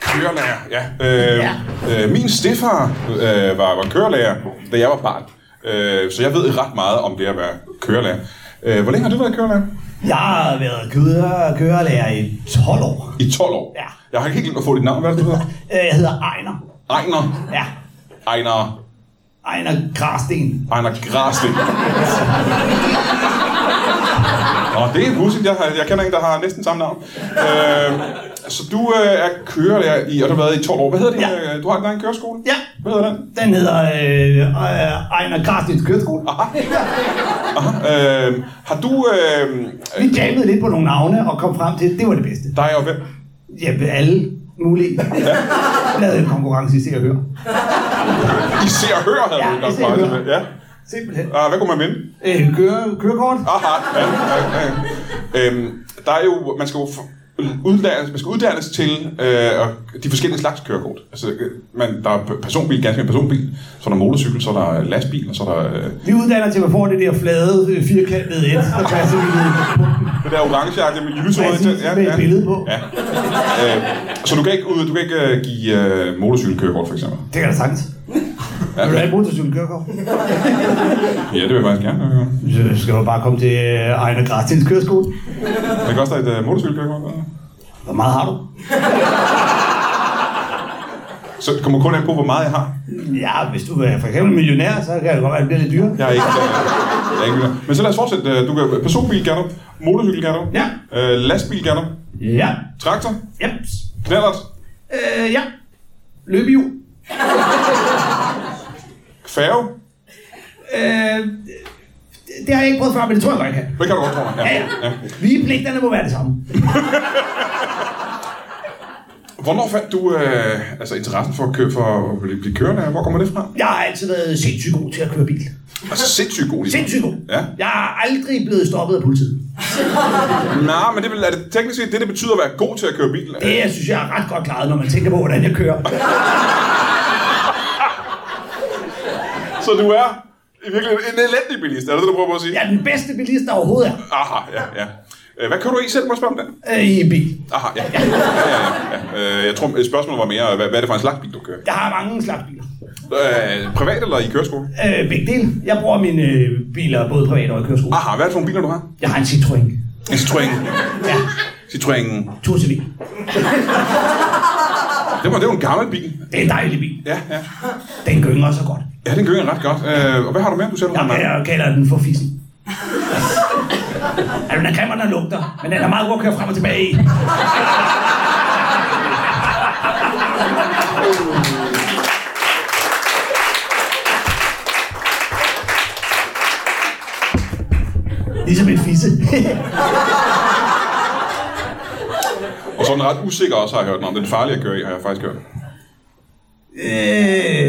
kørelærer, ja. Øh, ja. Øh, min stefar øh, var, var kørelærer, da jeg var barn. Øh, så jeg ved ret meget om det at være kørelærer. Øh, hvor længe har du været kørelærer? Jeg har været kører, kørelærer i 12 år. I 12 år? Ja. Jeg har ikke helt glemt at få dit navn. Hvad er det, du hedder? Øh, Jeg hedder Ejner. Ejner. Ja, Ejner. Ejner Græsten. Ejner Græsling. Nå, det er pudsigt. Jeg, har, jeg kender en, der har næsten samme navn. Øh, så du øh, er kørelærer i, og du har været i 12 år. Hvad hedder din, Ja. ja. du har en egen køreskole? Ja. Hvad hedder den? Den hedder øh, øh, Ejner Græstens Køreskole. Aha. Øh, har du... Øh, Vi jammede lidt på nogle navne og kom frem til, at det var det bedste. dig og hvem? Ja, alle mulige. Jeg lavede en konkurrence i Se og Hør. I ser og hører, havde Ja, du I nok ser og meget hører. til. Ja. Simpelthen. Ah, hvad kunne man vinde? Øh, køre, kørekort. Aha, ja, ja, ja. Øhm, der er jo, man skal jo f- uddannes, man skal uddannes til øh, og de forskellige slags kørekort. Altså, øh, man, der er p- personbil, ganske en personbil, så er der motorcykel, så er der lastbil, og så er der øh, Vi uddanner til, at man får det der flade, øh, firkantede et, der passer vi ned på pumpen. det der orangeagtige med lyserøde Præcis, med et billede på. Ja. Øh, så du kan ikke, ud- du kan ikke øh, give øh, motorcykelkørekort, for eksempel? Det kan da sagtens. Vil du have et motorcykelkørekort? Ja, det vil jeg faktisk gerne. øh. Så skal man bare komme til øh, Ejner Græstens Køreskole. Det koster et øh, motorcykelkørekort. eller? Hvor meget har du? Så det kommer kun an på, hvor meget jeg har. Ja, hvis du er for eksempel millionær, så kan det godt være, at det bliver lidt dyrere. Jeg er ikke, jeg er ikke vild. Men så lad os fortsætte. Øh, Du kan personbil gerne op, motorcykel gerne op, Ja. øh, lastbil gerne op, Ja. traktor, Jeps. knallert, Øh, ja. Løbehjul. færge. Øh, det, det har jeg ikke prøvet før, men det tror jeg godt, jeg kan. Det kan du godt, tror jeg. Ja, ja. Vigepligterne må være det samme. Hvornår fandt du øh, altså interessen for at, køre, for at blive, blive kørende? Hvor kommer det fra? Jeg har altid været sindssygt god til at køre bil. Altså sindssygt god idé. Sindssygt god. Ja. Jeg er aldrig blevet stoppet af politiet. Nej, men det er vel- er det teknisk set det, det betyder at være god til at køre bil. Det jeg synes jeg er ret godt klaret, når man tænker på, hvordan jeg kører. Så du er i virkeligheden en elendig bilist, er det det, du prøver på at sige? Jeg er den bedste bilist, der overhovedet er Aha, ja, ja. Øh, Hvad kører du i selv, må jeg spørge om det? øh, i en bil. Aha, ja. ja, ja, ja, ja. Øh, Jeg tror, spørgsmålet var mere, hvad, hvad er det for en slags bil, du kører? Jeg har mange slags biler. Øh, privat eller i køreskole? Øh, begge dele. Jeg bruger mine øh, biler både privat og i køreskole. Aha, hvad er det for nogle biler, du har? Jeg har en Citroën. En Citroën. Ja, Citroën. tur til bil. Det var, det var en gammel bil. Det er en dejlig bil. Ja, ja. Den gynger så godt. Ja, den gynger ret godt. Øh, og hvad har du med, du selv har Jeg, med? jeg kalder den for fissen. Altså, den er grim, og den lugter, men den er meget god at køre frem og tilbage i. Ligesom en fisse. Og så er den ret usikker også, har jeg hørt. Nå, den er farlig at køre i, har jeg faktisk hørt. øh,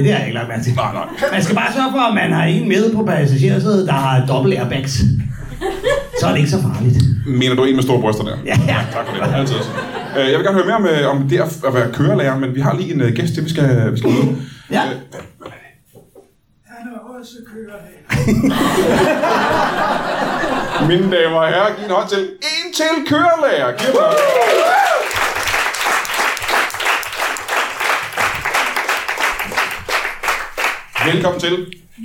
det har jeg ikke lagt mærke til. Ah, Nej, nej. Man skal bare sørge for, at man har en med på passagersædet, der har dobbelt airbags. Så er det ikke så farligt. Mener du en med store bryster der? Ja, Tak for det. Altid. Øh, jeg vil gerne høre mere om, øh, om det at- at være kørelærer, men vi har lige en øh, gæst til, vi skal, vi skal møde. Øh, Ja. Han er også kørelærer. mine damer og herrer, giv en hånd til en til kørelærer. Giv en hånd. Velkommen til.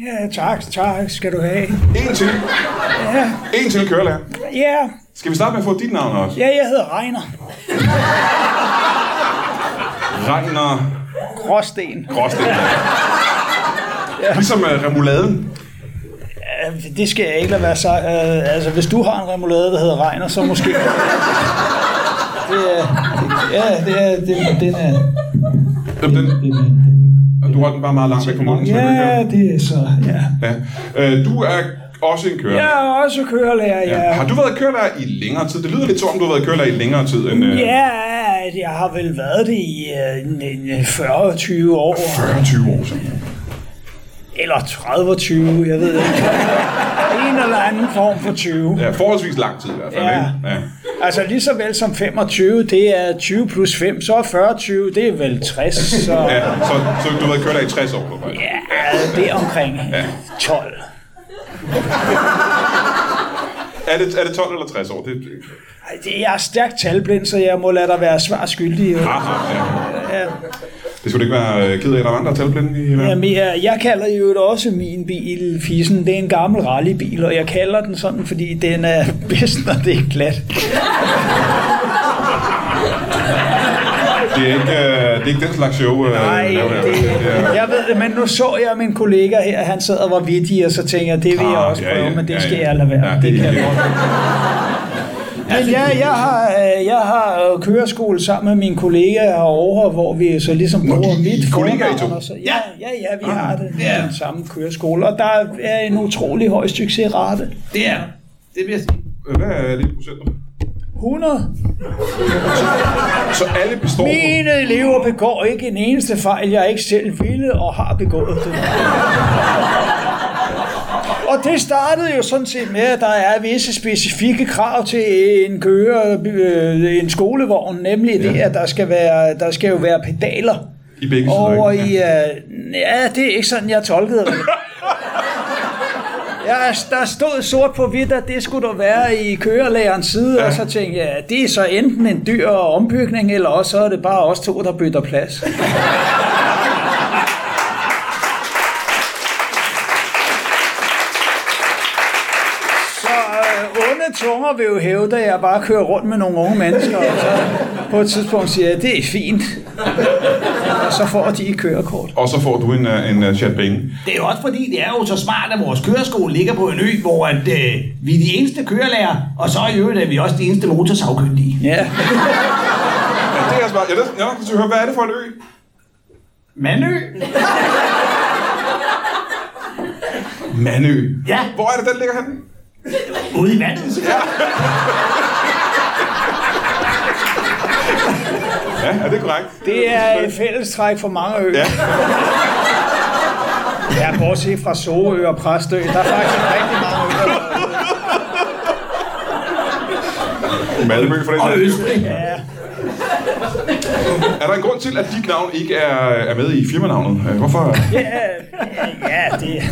Ja, tak, tak skal du have. En til. En til kørelærer. Ja, Skal vi starte med at få dit navn også? ja jeg hedder Reiner Regner Gråsten. Gråsten. Ligesom uh, remouladen. Øh, Det skal jeg ikke lade være så. Øh, altså, hvis du har en remoulade, der hedder Reiner, så måske... Det, øh, det Ja, det er, det, den er, Jamen, den, og du har den bare meget langt væk fra munden. så man kan ikke høre ja, det er så, ja. den. ja. Øh, du er også en kører. Jeg er også kørelærer, ja. Har du været kørelærer i længere tid? Det lyder lidt som om, du har været kørelærer i længere tid end... Øh, Ja, jeg har vel været det i øh, en- en 40-20 år, 40-20 år siden. eller 30-20, jeg ved ikke. En eller anden form for 20. Ja, forholdsvis lang tid i hvert fald, Ja. ikke? Ja. Altså lige så vel som 25, det er 20 plus 5, så er 40-20, det er vel 60, så ja så, så du har været kørelærer i 60 år, du faktisk. ja, det er omkring 12. Er det, er det 12 eller 60 år? Det, Ej, det- Jeg er stærkt talblind, så jeg må lade dig være svar skyldig. jo. aha, Ah, ja. Det skulle du ikke være øh, ked af, at der var andre talblinde i verden. Jamen, jeg, jeg kalder jo også min bil Fissen. Det er en gammel rallybil, og jeg kalder den sådan, fordi den er bedst, når det er glat. Det er ikke, øh, det er ikke den slags show, øh, Nej, vi laver her. det, er- jeg ved det, men nu så jeg min kollega her, han sad og var vittig, og så tænkte jeg, det vil jeg Ah, også prøve, men det skal jeg lade være. Ja, det, kan jeg det, godt. Men ja, jeg har, øh, jeg har øh, køreskole sammen med min kollega herovre, hvor vi så ligesom Nå, bruger I- I mit kollegaer, I fornavn. to? Ah, og Så, ja, ja, ja, vi har det. Det er den samme køreskole, og der er en utrolig høj succesrate. Det er der. Det vil jeg sige. Hvad er lige procenter? 100. Så alle består... Mine elever begår ikke en eneste fejl, jeg ikke selv ville og har begået det. Og det startede jo sådan set med, at der er visse specifikke krav til en køre, øh, en skolevogn, nemlig det, at der skal, være, der skal jo være pedaler I begge sider, over ikke? i... Øh, ja, det er ikke sådan, jeg tolkede det. Ja, altså, der stod sort på hvidt, at det skulle der være i kørelærens side, ja. og så tænkte jeg, at det er så enten en dyr ombygning, eller også så er det bare os to, der bytter plads. Så øh, onde tunger vil jo hævde, at jeg bare kører rundt med nogle unge mennesker, og så på et tidspunkt siger jeg, at det er fint. Og så får de et kørekort. Og så får du en, øh, en øh, chat penge. Det er jo også fordi, det er jo så smart, at vores køreskole ligger på en ø, hvor at, øh, vi er de eneste kørelærer, og så i øvrigt er vi også de eneste motorsavkyndige. Ja. Ja, det er smart. Ja, det, ja, så hør, hvad er det for en ø? Mandø? Manø. Ja, Hvor er det, den ligger henne? ude i vandet. Ja, er det korrekt? Det er et fællestræk for mange øer. Ja. Ja. ja, bortset fra Sorø og Præstø. Der er faktisk rigtig mange øer. Malmø for den Og sags skyld. Østrig. Er der en grund til, at dit navn ikke er, er med i firmanavnet? Øh, Hvorfor? Ja, det...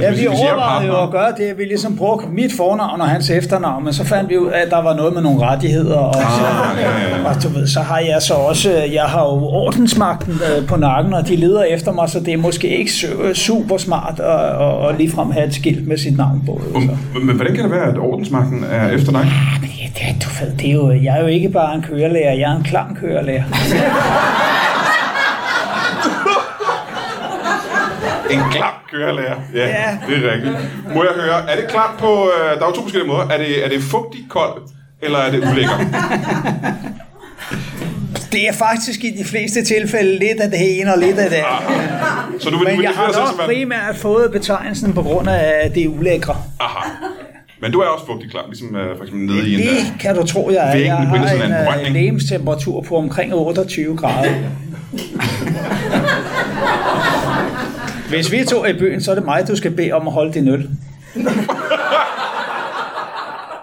Ja, hvis vi jeg overvejede partner- jo at gøre det, at vi ligesom brugte mit fornavn og hans efternavn, men så fandt vi ud af, at der var noget med nogle rettigheder, og, Ah, så, ja, ja, ja. og du ved, så har jeg så også, jeg har jo ordensmagten øh, på nakken, og de leder efter mig, så det er måske ikke su- super smart at, at, at ligefrem have et skilt med sit navn på. Um, jo, Så. Men, men hvordan kan det være, at ordensmagten er efter dig? Ja, det, du ved, det er jo, jeg er jo ikke bare en kørelærer, jeg er en klam kørelærer. En klam kørelærer. Ja, ja, det er rigtigt. Må jeg høre, er det klamt på... Øh, der er jo to forskellige måder. Er det, er det fugtig kold, eller er det ulækker? Det er faktisk i de fleste tilfælde lidt af det ene og lidt af det Ah, andet. Så du vil, du Men vil jeg definere har dig selv som nok værende- primært fået betegnelsen på grund af det ulækre. Aha. Men du er også fugtig klam, ligesom øh, for eksempel nede i en... Øh, Det kan du tro, jeg er. væggen Jeg på indersiden af en har brønd, en ikke? lægemstemperatur på omkring 28 grader. Hvis vi to er i byen, så er det mig, du skal bede om at holde din øl.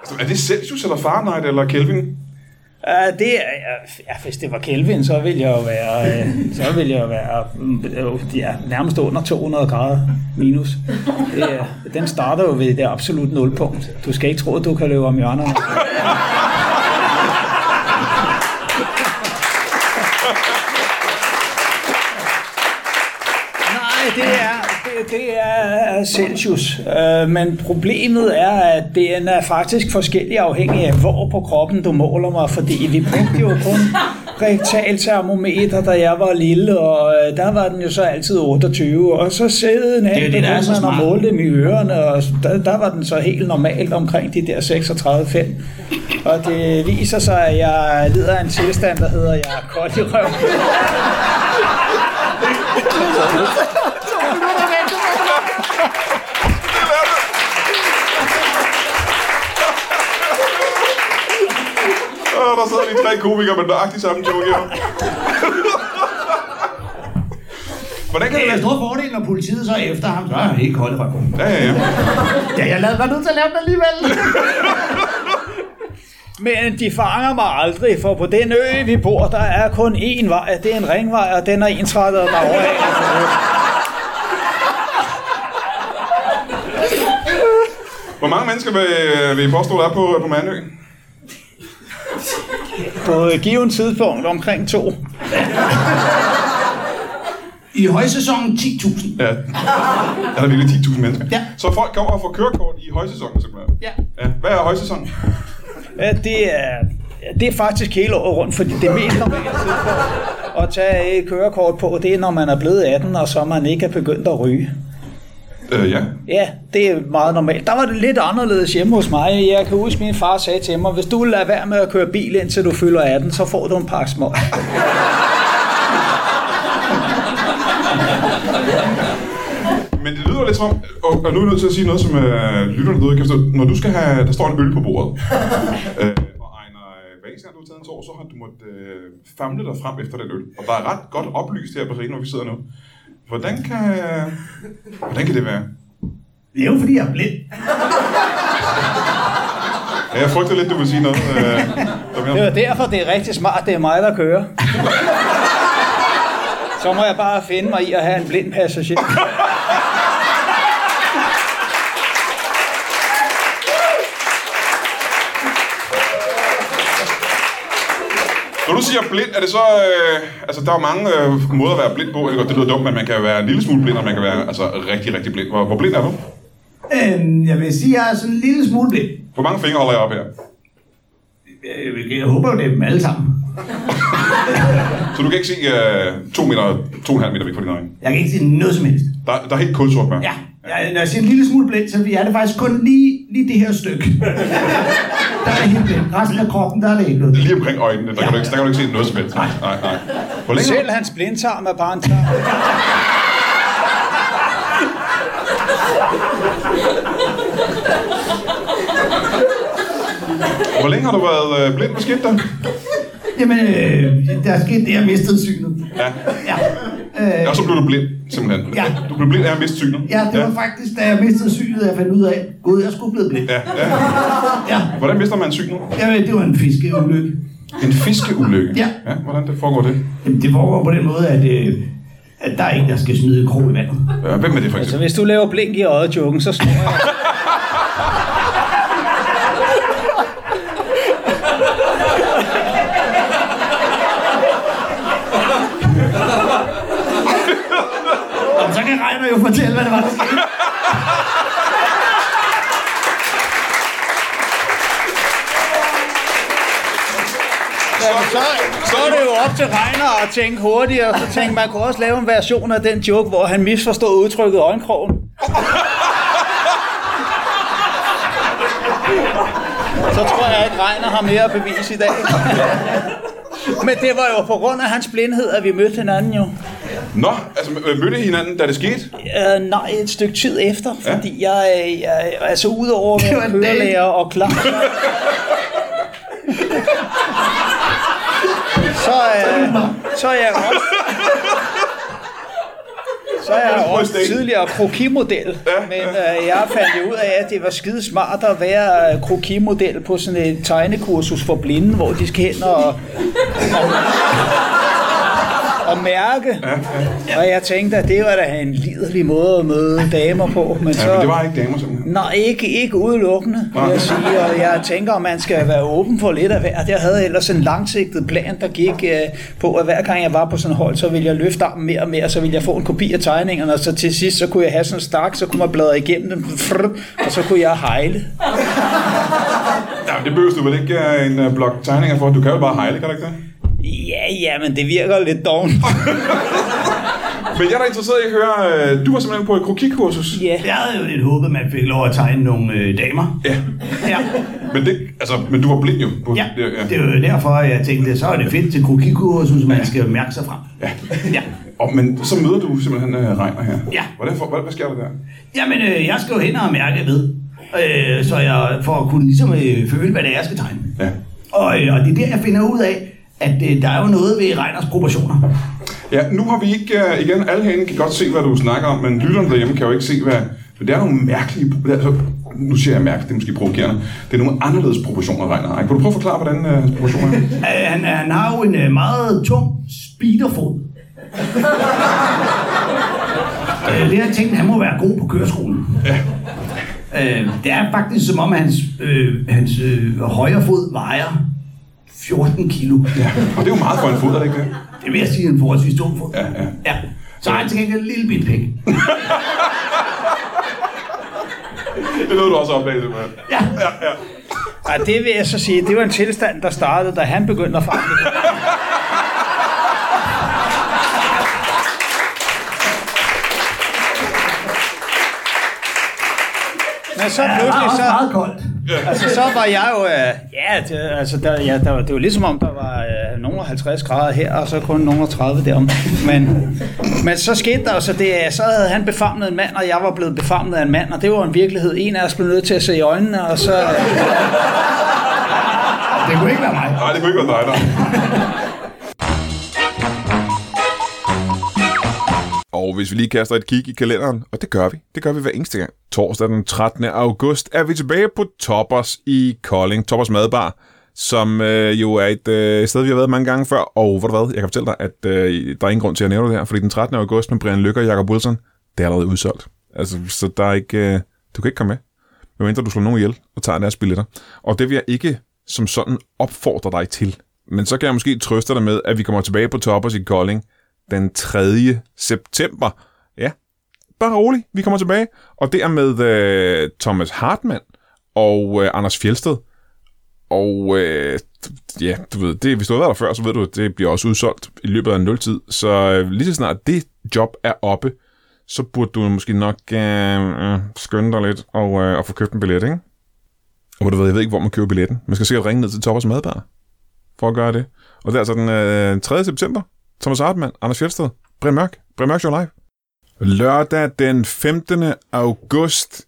altså, er det Celsius eller Fahrenheit eller Kelvin? Uh, det er, ja, hvis det var Kelvin, så ville jeg jo være, uh, så ville jeg jo være mm, øh, ja, nærmest under 200 grader minus. Det, uh, den starter jo ved det absolut nulpunkt. Du skal ikke tro, at du kan løbe om hjørnerne. Nej, det er, det, det er Celsius. Øh, men problemet er, at den er faktisk forskellig afhængig af, hvor på kroppen du måler mig, fordi vi brugte jo kun rektal termometer, da jeg var lille, og øh, der var den jo så altid 28, og så sædede Det er jo det, der er så man og smart. målte dem i ørerne, og der, der var den så helt normalt omkring de der 36,5. Og det viser sig, at jeg lider af en tilstand, der hedder, jeg er kold i røven. Åh, der sidder de tre komikere med nøjagtig samme joke her. Hvordan kan Det det er en lade stor fordel, når politiet så er efter ham, så er han helt kold i røven. Ja, ja, ja. Ja, jeg lavede, var nødt til at lave den alligevel. Men de fanger mig aldrig, for på den ø, vi bor, der er kun én vej. Det er en ringvej, og den er ensrettet derovre af. Hvor mange mennesker vil, øh, vil I påstå, der er på, på Mandø? På et givet tidspunkt omkring to. I højsæsonen 10.000. Ja. Er der virkelig 10.000 mennesker? Ja. Så folk kommer og får kørekort i højsæsonen, simpelthen? Ja. ja. Hvad er højsæsonen? Ja, det er, ja, det er faktisk hele året rundt, fordi det mest normale tidspunkt at tage et kørekort på, det er, når man er blevet 18, og så man ikke er begyndt at ryge. Øh, ja. Ja, det er meget normalt. Der var det lidt anderledes hjemme hos mig. Jeg kan huske, min far sagde til mig, hvis du lader være med at køre bil, indtil du fylder 18, så får du en pakke små. Men det lyder lidt som om, og, og nu er jeg nødt til at sige noget, som øh, lytterne derude ikke kan forstå. Når du skal have, der står en øl på bordet, øh, og Ejner Vasen, du har taget en tår, så har du måttet øh, famle dig frem efter den øl. Og der er ret godt oplyst her på scenen, hvor vi sidder nu. Hvordan kan, hvordan kan det være? Det er jo fordi, jeg er blind. Ja, jeg frygter lidt, du vil sige noget. Øh, der Det er mere. derfor, det er rigtig smart, det er mig, der kører. Så må jeg bare finde mig i at have en blind passager. Når du siger blind, er det så... Øh, altså, der er jo mange øh, måder at være blind på. Jeg ved godt, Det lyder dumt, men man kan være en lille smule blind, og man kan være altså, rigtig, rigtig blind. Hvor, hvor blind er du? Øhm, jeg vil sige, at jeg er sådan en lille smule blind. Hvor mange fingre holder jeg op her? Øh, Jeg håber jo, det er dem alle sammen. Så du kan ikke se øh, to meter, to og en halv meter væk fra dine øjne. Jeg kan ikke sige noget som helst. Der, der er helt kulsort med. Ja, jeg, når jeg siger en lille smule blind, så er det faktisk kun lige, lige det her stykke. der er helt blind. Resten af kroppen, der er det ikke noget. Lige omkring øjnene, der kan, du ikke, der kan du ikke se noget som helst. Nej, nej, nej. Hvor længe, Selv hans blindtarm er bare en tarm. hvor længe har du været øh, blind på skifter? Jamen, øh, der er sket det, jeg mistede synet. Ja. Ja. Øh, Og så blev du blind, simpelthen. Ja. Du blev blind af at miste synet. ja, det var faktisk, da jeg mistede synet, jeg fandt ud af, gud, jeg skulle blive blind. ja, ja. Ja. Hvordan mister man synet? Jamen, det var en fiskeulykke. En fiskeulykke? Ja. ja. Hvordan det foregår det? Jamen, det foregår på den måde, at, øh, at der er en, der skal smide en krog i vandet. Ja, Hvem er det for Så eksempel? Altså, hvis du laver blink i øjet joken, så snor jeg. Og så kan Reiner jo fortælle, hvad det var, der skete. Så, så er det jo op til Reiner at tænke hurtigt, og så tænke, man kunne også lave en version af den joke, hvor han misforstod udtrykket øjenkrogen. Så tror jeg ikke, Reiner har mere at bevise i dag. Men det var jo på grund af hans blindhed, at vi mødte hinanden jo. Nå, altså øh, mødte I hinanden, da det skete? Uh, nej, et stykke tid efter, fordi jeg, øh, jeg altså udover at være kørelærer og klar, så, øh, så er jeg også, så er jeg også tidligere krokimodel, men øh, jeg fandt jo ud af, at det var skide smart at være øh, krokimodel på sådan et tegnekursus for blinde, hvor de skal hen og, og, og mærke. Og jeg tænkte, at det var da en lidelig måde at møde damer på, men Ja, så... men det var ikke damer, simpelthen. Nej, ikke, ikke udelukkende, vil Nej. jeg sige. Og jeg tænker, at man skal være åben for lidt af hvert. Jeg havde ellers en langsigtet plan, der gik øh, på, at hver gang jeg var på sådan et hold, så ville jeg løfte armen mere og mere, så ville jeg få en kopi af tegningerne, og så til sidst, så kunne jeg have sådan en stak, så kunne man bladre igennem dem, frrr, og så kunne jeg hejle. Ja, men det behøver du vel ikke øh, en øh, blok tegninger for. Du kan jo bare hejle, kan du ikke det? Ja, ja, men det virker lidt dovent. Men jeg er da interesseret i at høre, øh, du var simpelthen på et krokikursus. Ja. Jeg havde jo lidt håbet, man fik lov at tegne nogle øh, damer. Ja. Ja. Men, det, altså, men du var blind jo. På, ja, det er jo derfor, jeg tænkte, så er det fedt til krokikursus, man skal mærke sig frem. Ja. ja. Og, men så møder du simpelthen øh, Reiner her. Ja. Hvordan, for, hvad, hvad sker der der? Jamen, øh, jeg skal jo hen og mærke ved, øh, så jeg for at kunne ligesom øh, føle, hvad det er, jeg skal tegne. Ja. Og, øh, og det er der, jeg finder ud af, at øh, der er jo noget ved Reiners proportioner. ja, nu har vi ikke... Øh, igen, alle herinde kan godt se, hvad du snakker om, men lytterne derhjemme kan jo ikke se, hvad... Men det er nogle mærkelige... Altså, nu siger jeg mærkeligt, det er måske provokerende. Det er nogle anderledes proportioner, Reiner. har, ikke? Vil du prøve at forklare, hvordan øh, hans proportioner er? Øh, han, han har jo en øh, meget tung speederfod. øh, det har jeg tænkt, han må være god på køreskolen. øh, det er faktisk som om, at hans, øh, hans øh, højre fod vejer 14 kilo. Ja. Og det er jo meget for en fod, er det ikke det? Det vil jeg sige, en forholdsvis tung fod. Ja, ja. ja. Så har han til gengæld en lille bit penge. Det nåede du også opdaget, simpelthen. Ja. Og det vil jeg så sige, det var en tilstand, der startede, da han begyndte at forandre det. Men så Ja, det var pludselig, også så, meget koldt. altså, så var jeg jo... Øh, ja, det, altså, der, ja der, var- det var ligesom om, der var øh, nogle og 50 grader her, og så kun nogle og 30 derom. Men, men så skete der jo så det, at så havde han befamlet en mand, og jeg var blevet befamlet af en mand, og det var en virkelighed. En af os blev nødt til at se i øjnene, og så... Øh, Det kunne ikke være mig. Nej, det kunne ikke være dig, der. Og hvis vi lige kaster et kig i kalenderen, og det gør vi, det gør vi hver eneste gang. Torsdag den 13. august er vi tilbage på Toppers i Kolding, Toppers Madbar, som øh, jo er et øh, sted, vi har været mange gange før. Og hvor du hvad, jeg kan fortælle dig, at øh, der er ingen grund til at nævne det her, fordi den 13. august med Brian Lykke og Jacob Wilson, det er allerede udsolgt. Altså, så der er ikke, øh, du kan ikke komme med, medmindre du slår nogen ihjel og tager deres billetter. Og det vil jeg ikke som sådan opfordre dig til. Men så kan jeg måske trøste dig med, at vi kommer tilbage på Toppers i Kolding den 3. september. Ja, bare rolig, vi kommer tilbage. Og det er med øh, Thomas Hartmann og øh, Anders Fjelsted. Og øh, ja, du ved, det, hvis du har været der før, så ved du, at det bliver også udsolgt i løbet af en nultid. Så øh, lige så snart det job er oppe, så burde du måske nok øh, øh, skynde dig lidt og, øh, og få købt en billet, ikke? Og ved du ved, jeg ved ikke, hvor man køber billetten. Man skal sikkert ringe ned til Toppers Madbar for at gøre det. Og det er altså den øh, 3. september. Thomas Hartmann, Anders Fjeldsted, Brian Mørk, Brian Mørk Show Live. Lørdag den 15. august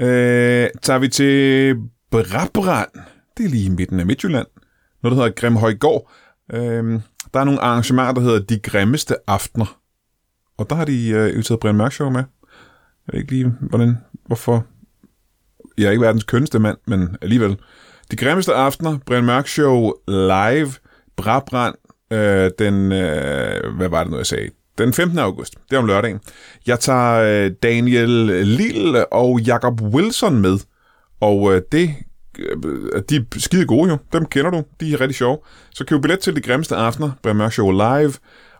øh, tager vi til Brabrand. Det er lige i midten af Midtjylland. Noget, der hedder Grimhøjgård. Øh, der er nogle arrangementer, der hedder De Grimmeste Aftener. Og der har de øh, inviteret Brian Mørk Show med. Jeg ved ikke lige, hvordan, hvorfor jeg er ikke verdens kønneste mand, men alligevel. De grimmeste aftener, Brian Mørk Show live, Brabrand, øh, den, øh, hvad var det nu, jeg sagde? Den 15. august, det er om lørdagen. Jeg tager øh, Daniel Lille og Jakob Wilson med, og øh, det øh, de er skide gode jo. Dem kender du. De er rigtig sjove. Så køb billet til De Grimmeste Aftener, Brian Mørk Show Live,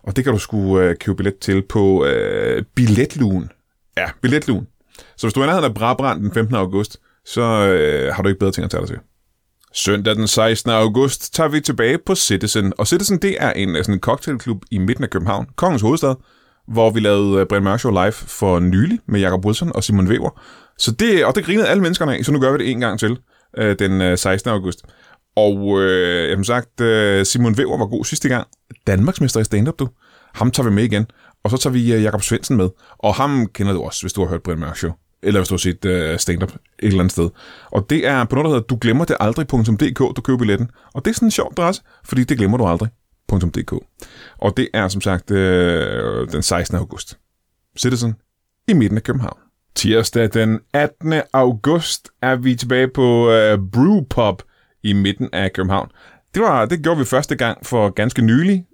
og det kan du sgu øh, købe billet til på øh, billetlugen. Ja, billetlugen. Så hvis du er i nærheden af Brabrand den 15. august, så øh, har du ikke bedre ting at tage dig til. Søndag den 16. august tager vi tilbage på Citizen. Og Citizen, det er en, øh, sådan en cocktailklub i midten af København, Kongens Hovedstad, hvor vi lavede øh, Brian Mørk Show live for nylig med Jakob Wilson og Simon Weber. Så det, og det grinede alle menneskerne af, så nu gør vi det en gang til øh, den øh, 16. august. Og øh, ja, som sagt, øh, Simon Weber var god sidste gang. Danmarksmester i stand-up, du. Ham tager vi med igen. Og så tager vi øh, Jakob Svendsen med. Og ham kender du også, hvis du har hørt Brian Mørk Show. Eller hvis du har set øh, stand-up et eller andet sted. Og det er på noget, der hedder du glemmer det aldrig.dk, du køber billetten. Og det er sådan en sjov adresse, fordi det glemmer du aldrig. .dk. Og det er som sagt øh, den 16. august. Citizen i midten af København. Tirsdag den 18. august er vi tilbage på øh, Brewpub i midten af København. Det, var, det gjorde vi første gang for ganske nylig.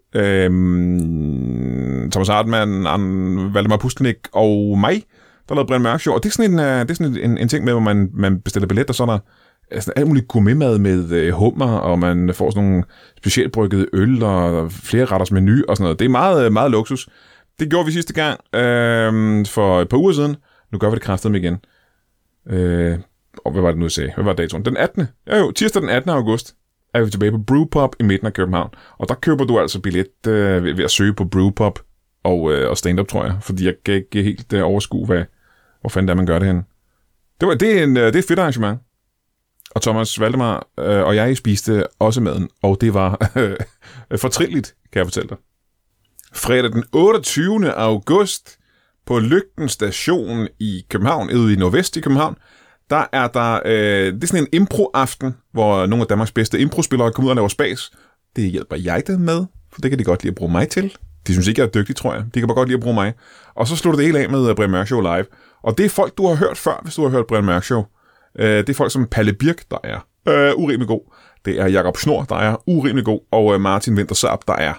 Øhm, Thomas Hartmann, An- Valdemar Pustelnik og mig, der lavede Brian Mørk Show. Og det er sådan en, øh, det er sådan en, en ting med, hvor man, man bestiller billet, og så er der øh, sådan alt muligt gourmetmad med øh, hummer, og man får sådan nogle specialbryggede øl, og flere retters menu og sådan noget. Det er meget, øh, meget luksus. Det gjorde vi sidste gang øh, for et par uger siden. Nu gør vi det kraftedeme igen. Øh, og hvad var det nu, jeg sagde? Hvad var datoen? Den 18. Ja jo, tirsdag den 18. august er vi tilbage på Brewpub i midten af København. Og der køber du altså billet øh, ved, ved at søge på Brewpub og, øh, og stand-up, tror jeg. Fordi jeg kan ikke helt øh, overskue, hvad, hvor fanden det er, man gør det henne. Det, var, det, er en, øh, det er et fedt arrangement. Og Thomas Valdemar øh, og jeg spiste også maden, og det var øh, fortrinligt, kan jeg fortælle dig. Fredag den 28. august på Lygten station i København, ude i nordvest i København, der er der, øh, det er sådan en impro-aften, hvor nogle af Danmarks bedste impro-spillere kommer ud og laver spas. Det hjælper jeg dem med, for det kan de godt lide at bruge mig til. De synes ikke, jeg er dygtig, tror jeg. De kan bare godt lide at bruge mig. Og så slutter det hele af med øh, Brian Mørk Show live. Og det er folk, du har hørt før, hvis du har hørt Brian Mørk Show. Øh, det er folk som Palle Birk, der er øh, urimelig god. Det er Jakob Snor, der er urimelig god. Og øh, Martin Winter Saab, der er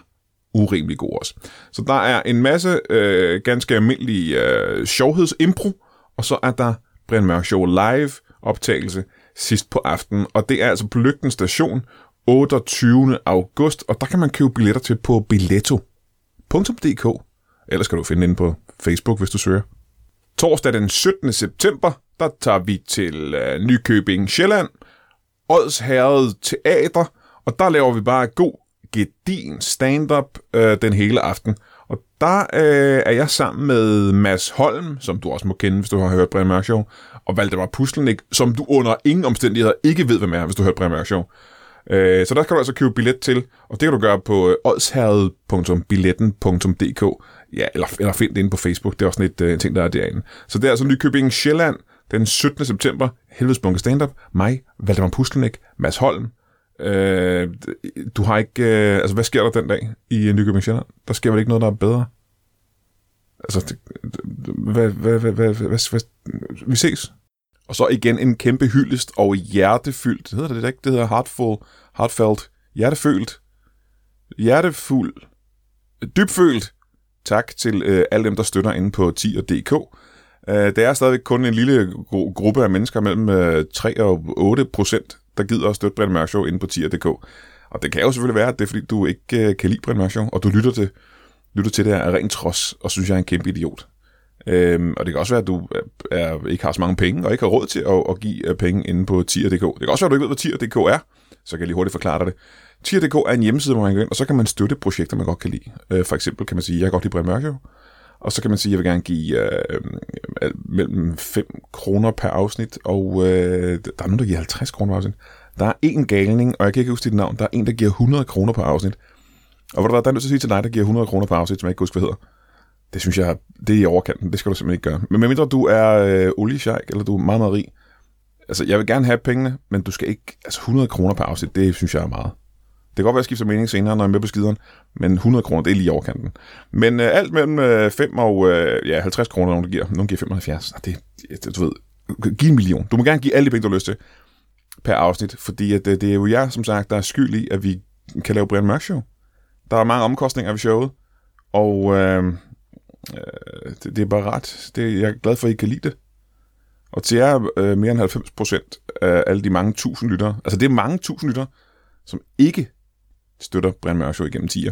urimelig god også. Så der er en masse øh, ganske almindelige øh, sjovhedsimpro, og så er der Brian Mørk Show live optagelse sidst på aftenen, og det er altså på Lygten Station 28. august, og der kan man købe billetter til på billetto.dk. Ellers kan du finde den inde på Facebook, hvis du søger. Torsdag den 17. september, der tager vi til øh, Nykøbing Sjælland, Odsherred Teater, og der laver vi bare god gedin stand-up øh, den hele aften. Og der øh, er jeg sammen med Mads Holm, som du også må kende, hvis du har hørt Brian Mørk Show, og Valdemar Puslenik, som du under ingen omstændigheder ikke ved, hvem er, hvis du har hørt Brian Mørk Show. Øh, så der kan du altså købe billet til, og det kan du gøre på øh, oddsherred.billetten.dk ja, eller, eller find det inde på Facebook. Det er også sådan et, øh, en ting, der er derinde. Så det er altså Nykøbing Sjælland den 17. september. Helvedes bunke stand-up. Mig, Valdemar Puslenik, Mads Holm. Øh, du har ikke... Øh, altså, hvad sker der den dag i øh, Nykøbing Sjælland? Der sker vel ikke noget, der er bedre? Altså, det, det- hvad, hvad, hvad, hvad, hvad, hvad, vi ses. Og så igen en kæmpe hyldest og hjertefyldt. Hedder det det ikke? Det hedder heartful, heartfelt, hjertefølt, hjertefuld, dybfølt. Tak til øh, alle dem, der støtter inde på 10.dk. Øh, det er stadigvæk kun en lille gru- gruppe af mennesker mellem øh, 3 og 8 procent, der gider at støtte Brian Mørk Show inde på 10.dk. Og det kan jo selvfølgelig være, at det er fordi, du ikke øh, kan lide Brian Mørk Show, og du lytter til, lytter til det her af ren trods, og synes, jeg er en kæmpe idiot. Øhm, og det kan også være, at du øh, er, ikke har så mange penge, og ikke har råd til at, at give øh, penge inde på tier.dk. Det kan også være, at du ikke ved, hvad tier.dk er. Så kan jeg lige hurtigt forklare dig det. Tier.dk er en hjemmeside, hvor man kan gå ind, og så kan man støtte projekter, man godt kan lide. Øh, for eksempel kan man sige, jeg kan godt lide Brian Mørk Show. Og så kan man sige, at jeg vil gerne give øh, øh, mellem 5 kroner per afsnit, og øh, der er nogen, der giver 50 kroner per afsnit. Der er en galning, og jeg kan ikke huske dit navn, der er en, der giver 100 kroner per afsnit. Og hvor der er der er nødt til at sige til dig, der giver 100 kroner per afsnit, som jeg ikke kan huske, hvad hedder. Det synes jeg, det er i overkanten. Det skal du simpelthen ikke gøre. Men medmindre du er øh, oliesjejk, eller du er meget, meget rig. Altså, jeg vil gerne have pengene, men du skal ikke... Altså, 100 kroner per afsnit, det synes jeg er meget. Det kan godt være, at jeg skifter mening senere, når jeg er med på skideren, men 100 kroner, det er lige i overkanten. Men øh, alt mellem øh, 5 og øh, ja, 50 kroner, nogen der giver. Nogen giver 75. Og Det, det, du ved, giv en million. Du må gerne give alle de penge, du har lyst til per afsnit, fordi at, øh, det, det er jo jeg, som sagt, der er skyld i, at vi kan lave Brian Mørk Show. Der er mange omkostninger ved showet, og øh, øh, det, det er bare ret. Det, jeg er glad for, at I kan lide det. Og til jer, øh, mere end 90 procent af alle de mange tusind lyttere, altså det er mange tusind lyttere, som ikke støtter Brian Mørk Show igennem 10'er,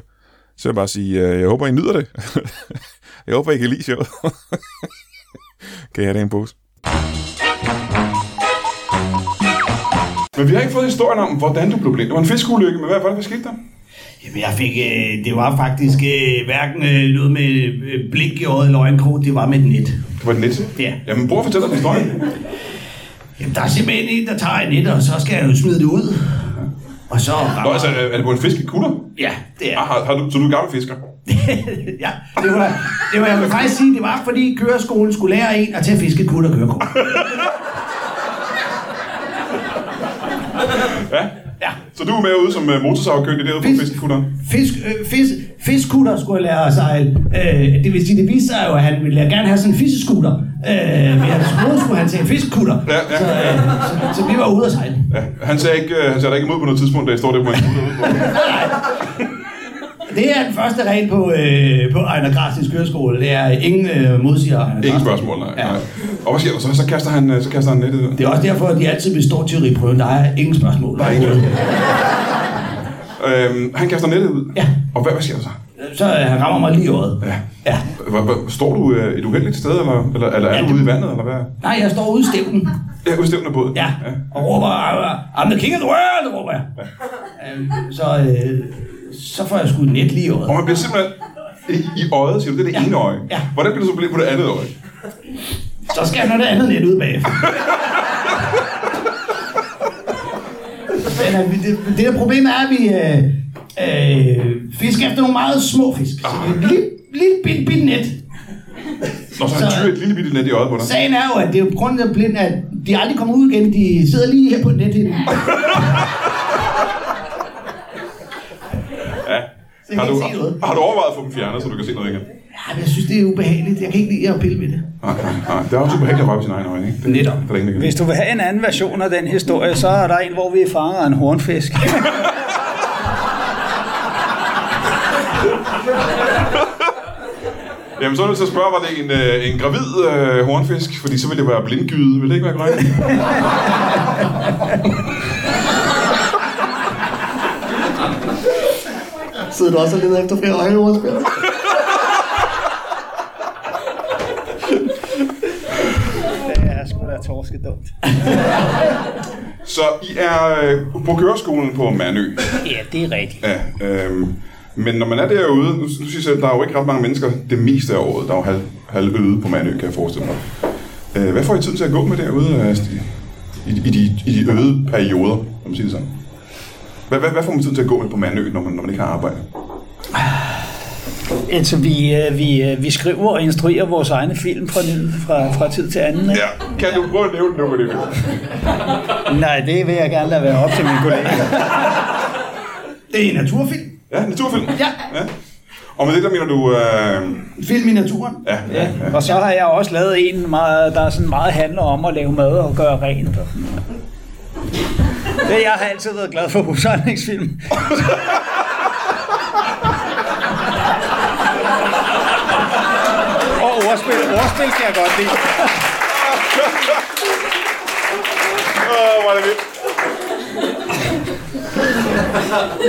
så vil jeg bare sige, øh, jeg håber, I nyder det. jeg håber, I kan lide showet. kan jeg have det i en pose? Men vi har ikke fået historien om, hvordan du blev blind. Det var en fiskeulykke, men hvad var det, der skete der? Jamen, jeg fik, øh, det var faktisk øh, hverken øh, noget med øh, blik i øjet eller øjenkrog, det var med et net. Det var den næste. Ja. Jamen, bror fortæller den historien. Jamen, der er simpelthen en, der tager et net, og så skal jeg jo smide det ud. Og så Nå, rammer... altså, er er det på en fiskekutter? Ja, det er Ah, har, har du, så du er gammel fisker? ja, det var, det var, jeg vil faktisk sige, det var fordi køreskolen skulle lære en at tage fiskekut og kørekort. Ja. Ja. Så du er med ude som øh, motorsavkyndig derude på Fisk. fiskekutteren? Fisk, øh, fisk, fiskkutter skulle lære at sejle. Øh, det vil sige, det viste sig jo, at han ville gerne have sådan en fiskeskutter. Øh, men jeg troede, skulle han tage fiskekutter. Ja, ja. Så, øh, så, så, vi var ude at sejle. Ja. Han sagde ikke, øh, han sagde dig ikke imod på noget tidspunkt, da jeg står der på en kutter ude på. Det er den første regel på, øh, på Ejner Græsnes køreskole. Det er, ingen øh, modsiger Ejner Ingen Grasten. spørgsmål, nej. Ja. nej. Og hvad sker der så? Så kaster han, øh, så kaster han nettet ud. Det er også derfor, at de altid består teoriprøven. Der er ingen spørgsmål. Der er ikke noget. Øhm, han kaster nettet ud. Ja. Og hvad, hvad sker der så? Så øh, han rammer mig lige i øjet. Ja. Ja. Hvor, hvor, står du øh, et uheldigt sted, eller, eller, eller er Ja, du det- ude i vandet, eller hvad? Nej, jeg står ude i stævnen. Ja, udstævnet båd. Ja, og råber, "Ah, I'm the king of the world, råber jeg. Øhm, så, øh, så får jeg sgu et net lige i øjet. Og man bliver simpelthen i, i øjet, siger du, det er det Ja. ene øje. Ja. Hvordan bliver du så blind på det andet øje? Så skal jeg have noget andet net ud bagefter. Men, øh, vi- det, det der problem er, at vi øh, øh, fisker efter nogle meget små fisk. Så det er et lille, lille bit, bit net. Nå, så har han Så- tyret et lille bitte net i øjet på dig. Sagen er jo, at det er jo grunden til, at blind, at de aldrig kommer ud igen. De sidder lige her på nettet. Ja. Har du, har, har du overvejet at få dem fjernet, så du kan se noget igen? Ja, men jeg synes, det er ubehageligt. Jeg kan ikke lide at pille ved det. Nej, nej, nej. Det er også super hægtigt at røre ved sine egne øjne, ikke? Det, Netop. Det er der ingen, der kan. Hvis du vil have en anden version af den historie, så er der en, hvor vi fanger en hornfisk. Jamen, så er du til at spørge, var det en, øh, en gravid øh, hornfisk? Fordi så ville det være blindgyde. Ville det ikke være korrekt? Sidder du også og leder efter flere øjeordspil? Det er sgu da torsket dumt. Så I er øh, på køreskolen på Manø. Ja, det er rigtigt. Ja, øhm, men når man er derude, nu, nu synes jeg, at der er jo ikke ret mange mennesker det meste af året. Der er jo halv, halv øde på Manø, kan jeg forestille mig. Øh, hvad får I tid til at gå med derude øh, Stig? i, i, de, i de øde perioder, om man siger det sådan? Hvad, hvad, hvad får man tid til at gå med på Manø, når man, når man ikke har arbejde? Altså, vi, øh, vi, øh, vi skriver og instruerer vores egne film fra, fra, fra tid til anden. Ikke? Ja, kan du prøve at nævne noget med det? Nej, det vil jeg gerne lade være op til mine kollegaer. Det er en naturfilm. Ja, naturfilm. Ja. ja. Og med det, der mener du... Øh, Film i naturen. ja, ja. Og så har jeg også lavet en, meget, der sådan meget handler om at lave mad og gøre rent. og sådan noget. Det, jeg har altid været glad for husholdningsfilm. og ordspil, ordspil kan jeg godt lide. Åh, hvor er det vildt.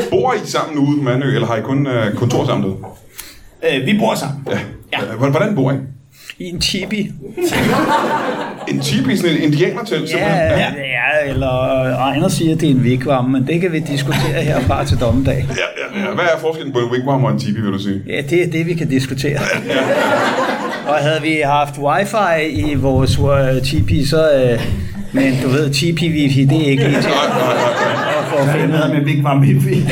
Bor I sammen ude på Mandø, eller har I kun øh, kontor sammen derude? Øh, vi bor sammen. Ja. ja. Hvordan bor I? I en chibi. En tipi, sådan en indianertelt, simpelthen? Ja, ja, eller Ejner siger, at det er en vikvarme, men det kan vi diskutere herfra til dommedag. Ja, ja, ja. Hvad er forskellen på en wigwam og en tipi, vil du sige? Ja, det er det, vi kan diskutere. Og havde vi haft wifi i vores uh, TP, så... Uh, men du ved, TP-wifi, det er ikke lige til Nej, nej, nej, nej. at få finde. med Big Mom Hippie.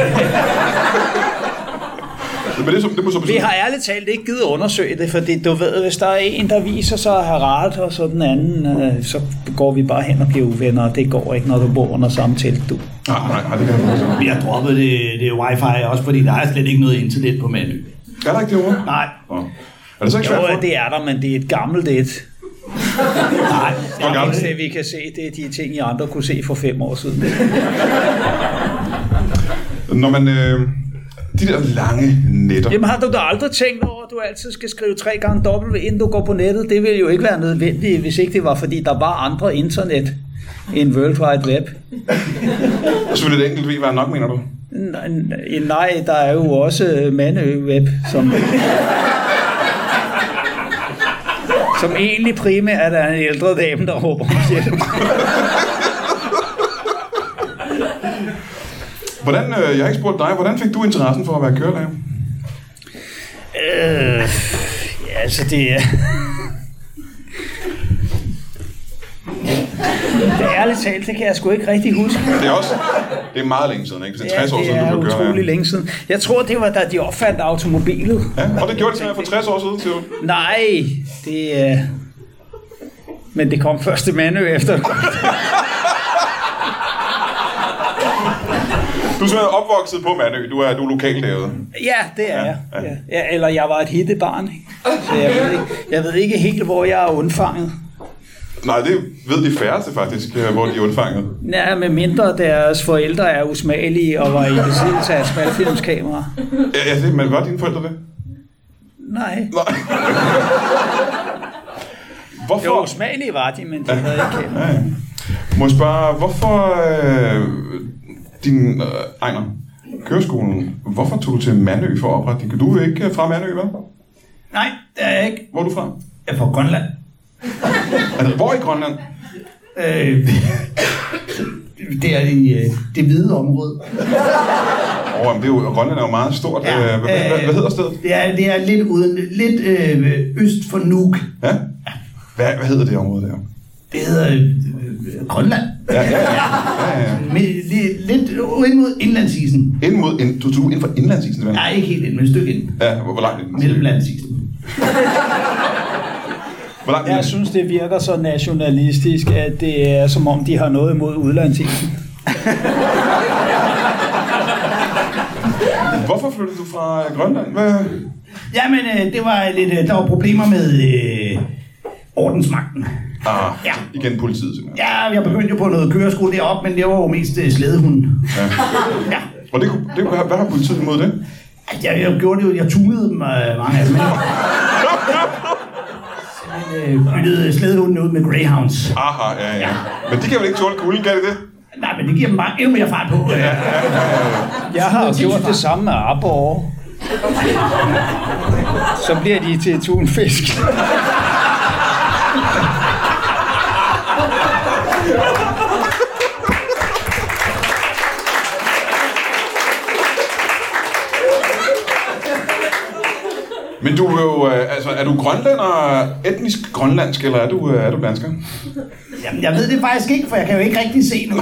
Men det, er så- det må så Vi betyde... har ærligt talt ikke givet undersøge det, fordi du ved, hvis der er en, der viser sig at have ret, og så den anden, øh, så går vi bare hen og bliver uvenner, og det går ikke, når du bor under samme telt, du. Nej, nej, nej, det kan jeg ikke. forstå. vi har droppet det, det wifi, også fordi der er slet ikke noget internet på Manø. Er der ikke det ord? Nej, Nå. Er det så ikke svært Jo, for? det er der, men det er et gammelt et. nej. Hvor gammel? Det, vi kan se, det er de ting, I andre kunne se for fem år siden. Når man... Øh, de der lange netter. Jamen har du da aldrig tænkt over, at du altid skal skrive tre gange W, inden du går på nettet? Det ville jo ikke være nødvendigt, hvis ikke det var, fordi der var andre internet end World Wide Web. Så vil det enkelt ved være nok, mener du? N- n- nej, der er jo også øh, Mandø-web, som... som egentlig primært er en ældre dame, der råber om hjælp. Hvordan, øh, jeg har ikke spurgt dig, hvordan fik du interessen for at være kørelærer? Øh, ja, altså det er... Det er ærligt talt, det kan jeg sgu ikke rigtig huske. Det er også... Det er meget længe siden, ikke? Det er 60 år det siden, du er blev kørelærer. utrolig længe siden. Jeg tror, det var da de opfandt automobilet. Ja, og det gjorde de simpelthen for 60 år siden, siger du. Nej, det er... Men det kom først til Mandø efter. Du er simpelthen opvokset på Mandø. Du er, du er lokal derude. Ja, det er jeg. Ja. Ja, eller jeg var et hittebarn. ikke? Så jeg ved, ikke, jeg ved ikke helt, hvor jeg er undfanget. Nej, det ved de færreste faktisk, øh, hvor de er undfanget. Ja, med mindre deres forældre er usmagelige og var i besiddelse af smalfilmskamera. Ja, ja det, men var dine forældre det? Nej. Nej. Hvorfor? Jo, usmagelige var de, men de havde ikke kamera. Ja, ja. Må jeg spørge, hvorfor øh, din øh, Ejner, køreskolen. Hvorfor tog du til Mandø for at oprette din? Du er ikke øh, fra Mandø, hvad? Nej, det er jeg ikke. Hvor er du fra? Jeg er fra Grønland. Altså, hvor i Grønland? Øh, det er i øh, det hvide område. Åh, oh, det er jo, Grønland er jo meget stort. Ja, øh, hvad, hvad, hvad, hedder stedet? Det er, det er lidt, uden, lidt øh, øst for Nuuk. Ja? Hvad, hvad hedder det område der? Det hedder øh, øh, Grønland. Ja, ja, ja. ja, ja. Med, lidt, lidt ind mod indlandsisen. Ind mod, ind, du tog ind for indlandsisen, simpelthen? Nej, ikke helt ind, men et stykke ind. Ja, hvor, hvor langt ind? Mellemlandsisen. Hvor langt Jeg synes, det virker så nationalistisk, at det er som om, de har noget imod udlandsisen. Hvorfor flyttede du fra øh, Grønland? Hvad? Jamen, øh, det var lidt, øh, der var problemer med øh, ordensmagten. Ah, Ja. igen politiet, simpelthen. Ja, jeg begyndte jo på noget køreskole deroppe, men det var jo mest øh, slædehunden. Ja. Og det, kunne- det, kunne- hvad har politiet imod det? Ej, Jeg, jeg gjorde det jo, jeg tunede dem øh, mange af dem. ikke? Så jeg øh, byttede slædehunden ud med greyhounds. Aha, ja, ja. Men de kan vel ikke tåle kulden, kan de det? Nej, men det giver dem bare endnu mere fart på. Øh. Jeg har jo gjort det samme med arbor. Så bliver de til tunfisk. Men du er jo, øh, altså, er du grønlænder, etnisk grønlandsk, eller er du, øh, er du dansker? Jamen, jeg ved det faktisk ikke, for jeg kan jo ikke rigtig se nu.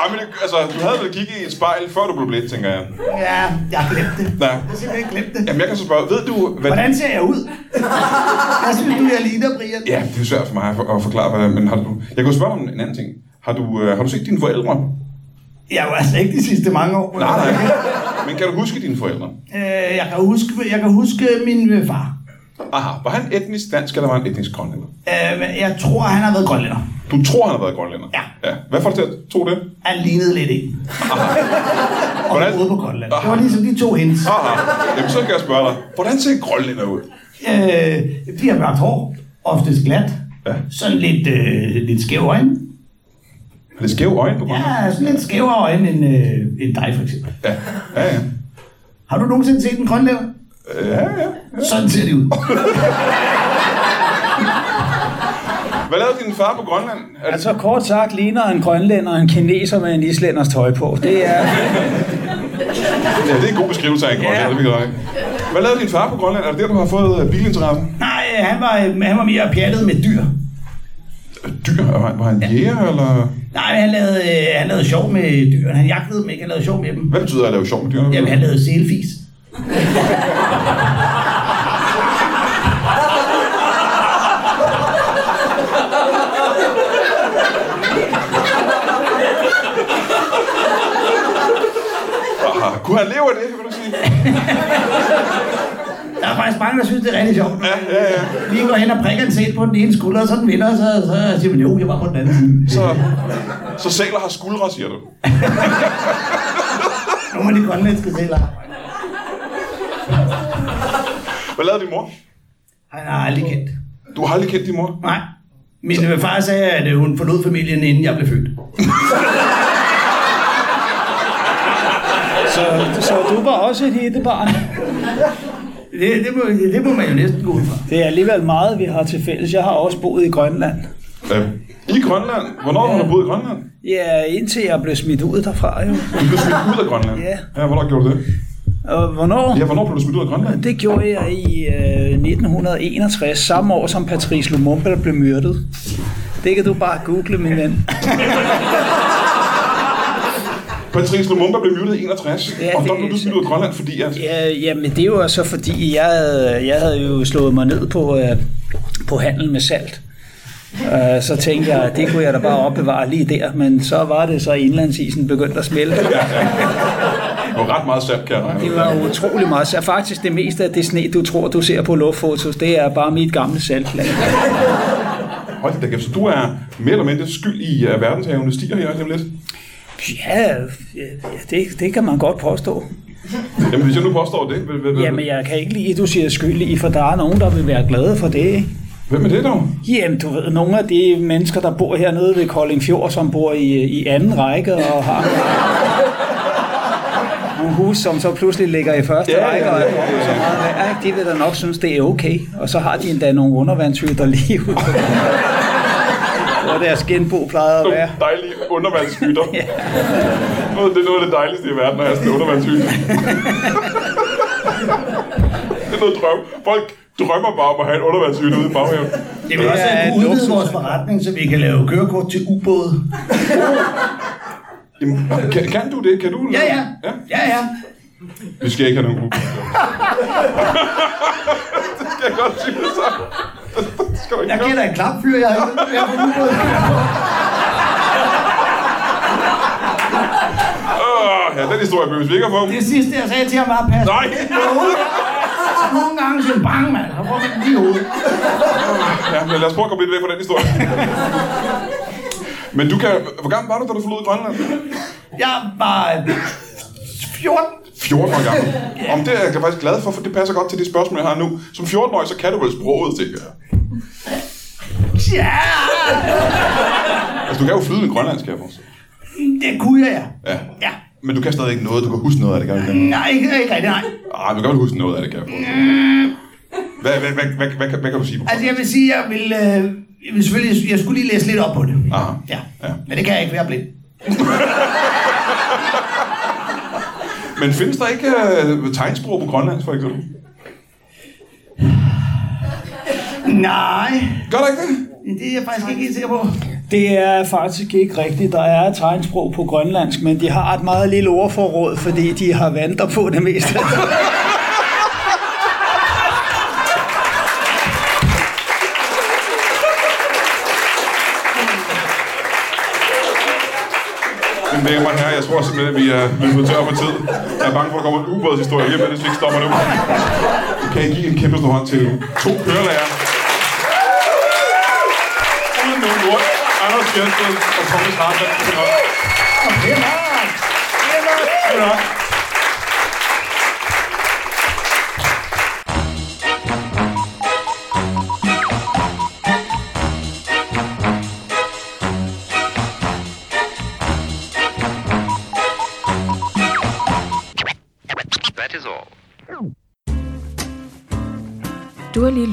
Ah, men det, altså, du havde vel kigget i et spejl, før du blev blæt, tænker jeg. Ja, jeg har glemt det. Ja. Jeg har simpelthen glemt det. Jamen, jeg kan så spørge, ved du, hvad... Hvordan ser jeg ud? Hvad synes du, jeg ligner, Brian? Ja, det er jo svært for mig at for- at forklare, hvad, men har du... Jeg kan jo spørge om en anden ting. Har du, øh, har du set dine forældre? Jeg er jo altså ikke de sidste mange år. Nej, nej. Men kan du huske dine forældre? Øh, jeg, kan huske, jeg kan huske min øh, far. Aha, var han etnisk dansk, eller var han etnisk grønlænder? Øh, men jeg tror, han har været grønlænder. Du tror, han har været grønlænder? Ja. ja. Hvad får du til at tro det? Han lignede lidt en. Og Hvordan- boede på Grønland. Ah. Det var ligesom de to hendes. Aha, jamen så kan jeg spørge dig. Hvordan ser grønlænder ud? Øh, de har mørkt hår. Oftest glat. Ja. Sådan lidt, øh, lidt skæve øjne. Har det skæve øjne på grønlænder? Ja, sådan lidt skævere øjne end, øh, end dig for eksempel. Ja. Ja, ja. Har du nogensinde set en grønlænder? Ja, ja. Sådan ser de ud. Hvad lavede din far på Grønland? Er det... Altså kort sagt ligner en grønlænder en kineser med en islænders tøj på. Det er... Ja, det er en god beskrivelse af en grønlænder, det vil jeg ikke. Hvad lavede din far på Grønland? Er det der, du har fået øh, bilinteressen? Nej, øh, han var, øh, han var mere pjattet med dyr. Dyr? Var han, var han jæger, eller... Nej, han lavede, øh, han lavede sjov med dyrene. Han jagtede dem ikke, han lavede sjov med dem. Hvad betyder at lave sjov med dyrene? Jamen, han lavede selfies. Aha, Ah, kunne han leve af det, vil du sige? Der er faktisk mange, der synes, det er rigtig sjovt. Ja, ja, ja. Lige går hen og prikker en sæt på den ene skulder, og så den vinder, og så, så siger man, jo, jeg var på den anden side. Mm. Så, så sæler har skuldre, siger du. Nu må de grønlandske selv have. Hvad lavede din mor? Han har aldrig kendt. Du har aldrig kendt din mor? Nej. Min øh, far sagde, at øh, hun forlod familien, inden jeg blev født. Så, så du var også et hittebarn. Det, det, må, det må man jo næsten gå ud fra. Det er alligevel meget, vi har til fælles. Jeg har også boet i Grønland. Øh, I Grønland? Hvornår har du boet i Grønland? Ja, indtil jeg blev smidt ud derfra jo. Du blev smidt ud af Grønland? Ja. Ja, hvornår gjorde du det? Og hvornår? Ja, hvornår blev du smidt ud af Grønland? Det gjorde jeg i øh, 1961, samme år som Patrice Lumumba blev myrdet. Det kan du bare google, min ven. Patrice Lumumba blev myrdet i 61, Ja, og der det- blev du smidt ud af Grønland, fordi at... Ja, jamen det var så fordi, jeg havde, jeg havde jo slået mig ned på, øh, på handel med salt. Øh, så tænkte jeg, at det kunne jeg da bare opbevare lige der, men så var det så, at indlandsisen begyndte at smelte. Det var ret meget sat, kan jeg regne Det ud. var utrolig meget. Så faktisk det meste af det sne, du tror, du ser på luftfotos, det er bare mit gamle saltlag. Hold da kæft, så du er mere eller mindre skyld i uh, verdenshavene stiger her lige om lidt. Ja, ja, det, det kan man godt påstå. Jamen, hvis jeg nu påstår det... Vil, vil, vil, Jamen, jeg kan ikke lide, at du siger skyld i, for der er nogen, der vil være glade for det. ikke? Hvem er det dog? Jamen, du ved, nogle af de mennesker, der bor hernede ved Kolding Fjord, som bor i, i anden række og har nogle hus, som så pludselig ligger i første Ja, ja, række, og ja, er ja, ja. kommet så meget værd, ikke? de vil da nok synes, det er okay. Og så har de endda nogle undervandshytter lige ud. Hvor deres genbo plejede at Nogle være. dejlige undervandshytter. Noget- Det er noget af det dejligste i verden, at have sådan en undervandshytte. det er noget drøm. Folk drømmer bare om at have en undervandshytte ude i baghaven. Det vil også er at et kunne udvide luksus. vores forretning, så vi kan lave kørekort til ubåde. Jamen, kan, kan, du det? Kan du? Ja, ja. Ja, ja. Vi skal ikke have nogen ubåde. det skal jeg godt sige så. Det skal du ikke Jeg gøre. kender en klap fyr, jeg har jeg har ubåde. Åh, ja, den historie behøves vi ikke at få. Det sidste, jeg sagde til ham, var pas. Nej! Nogle gange siger han, bang, mand. Han får man lige i hovedet. Ja, men lad os prøve at komme lidt væk fra den historie. Men du kan... Hvor gammel var du, da du forlod Grønland? Jeg var øh, 14. 14 år gammel. Om det er jeg faktisk glad for, for det passer godt til de spørgsmål, jeg har nu. Som 14-årig, så kan du vel sproget, tænker jeg. Ja, Altså, du kan jo flyde en grønlandsk, kan jeg forestille. det kunne jeg, ja. Ja. Ja. Men du kan stadig ikke noget, du kan huske noget af det, kan du ikke? Nej, ikke ikke rigtigt, nej. Ah, du kan vel huske noget af det, kan jeg forestille. Hvad, hvad, hvad, hvad, hvad, hvad, hvad kan du sige på Altså, jeg vil sige, jeg vil... Øh, jeg, vil selvfølgelig, jeg skulle lige læse lidt op på det. Aha. Ja. Ja. Ah. ja. Men det kan jeg ikke, for jeg er blind. Men findes der ikke øh, tegnsprog på grønlandsk, for eksempel? Nej, Gør der ikke det? det er jeg faktisk ikke helt sikker på. Det er faktisk ikke rigtigt. Der er et tegnsprog på grønlandsk, men de har et meget lille ordforråd, fordi de har vandter på det meste. Men det er mig her, jeg tror simpelthen, at vi er vi er blevet tør for tid. Jeg er bange for, at der kommer en ubådshistorie lige med, hvis vi ikke stopper nu. Du kan I give en kæmpe stor hånd til to kørelærer. Uden nogen grund. Anders Bjørnsted og Thomas Hartmann. Det er nok. Det er nok. That is all. Du har lige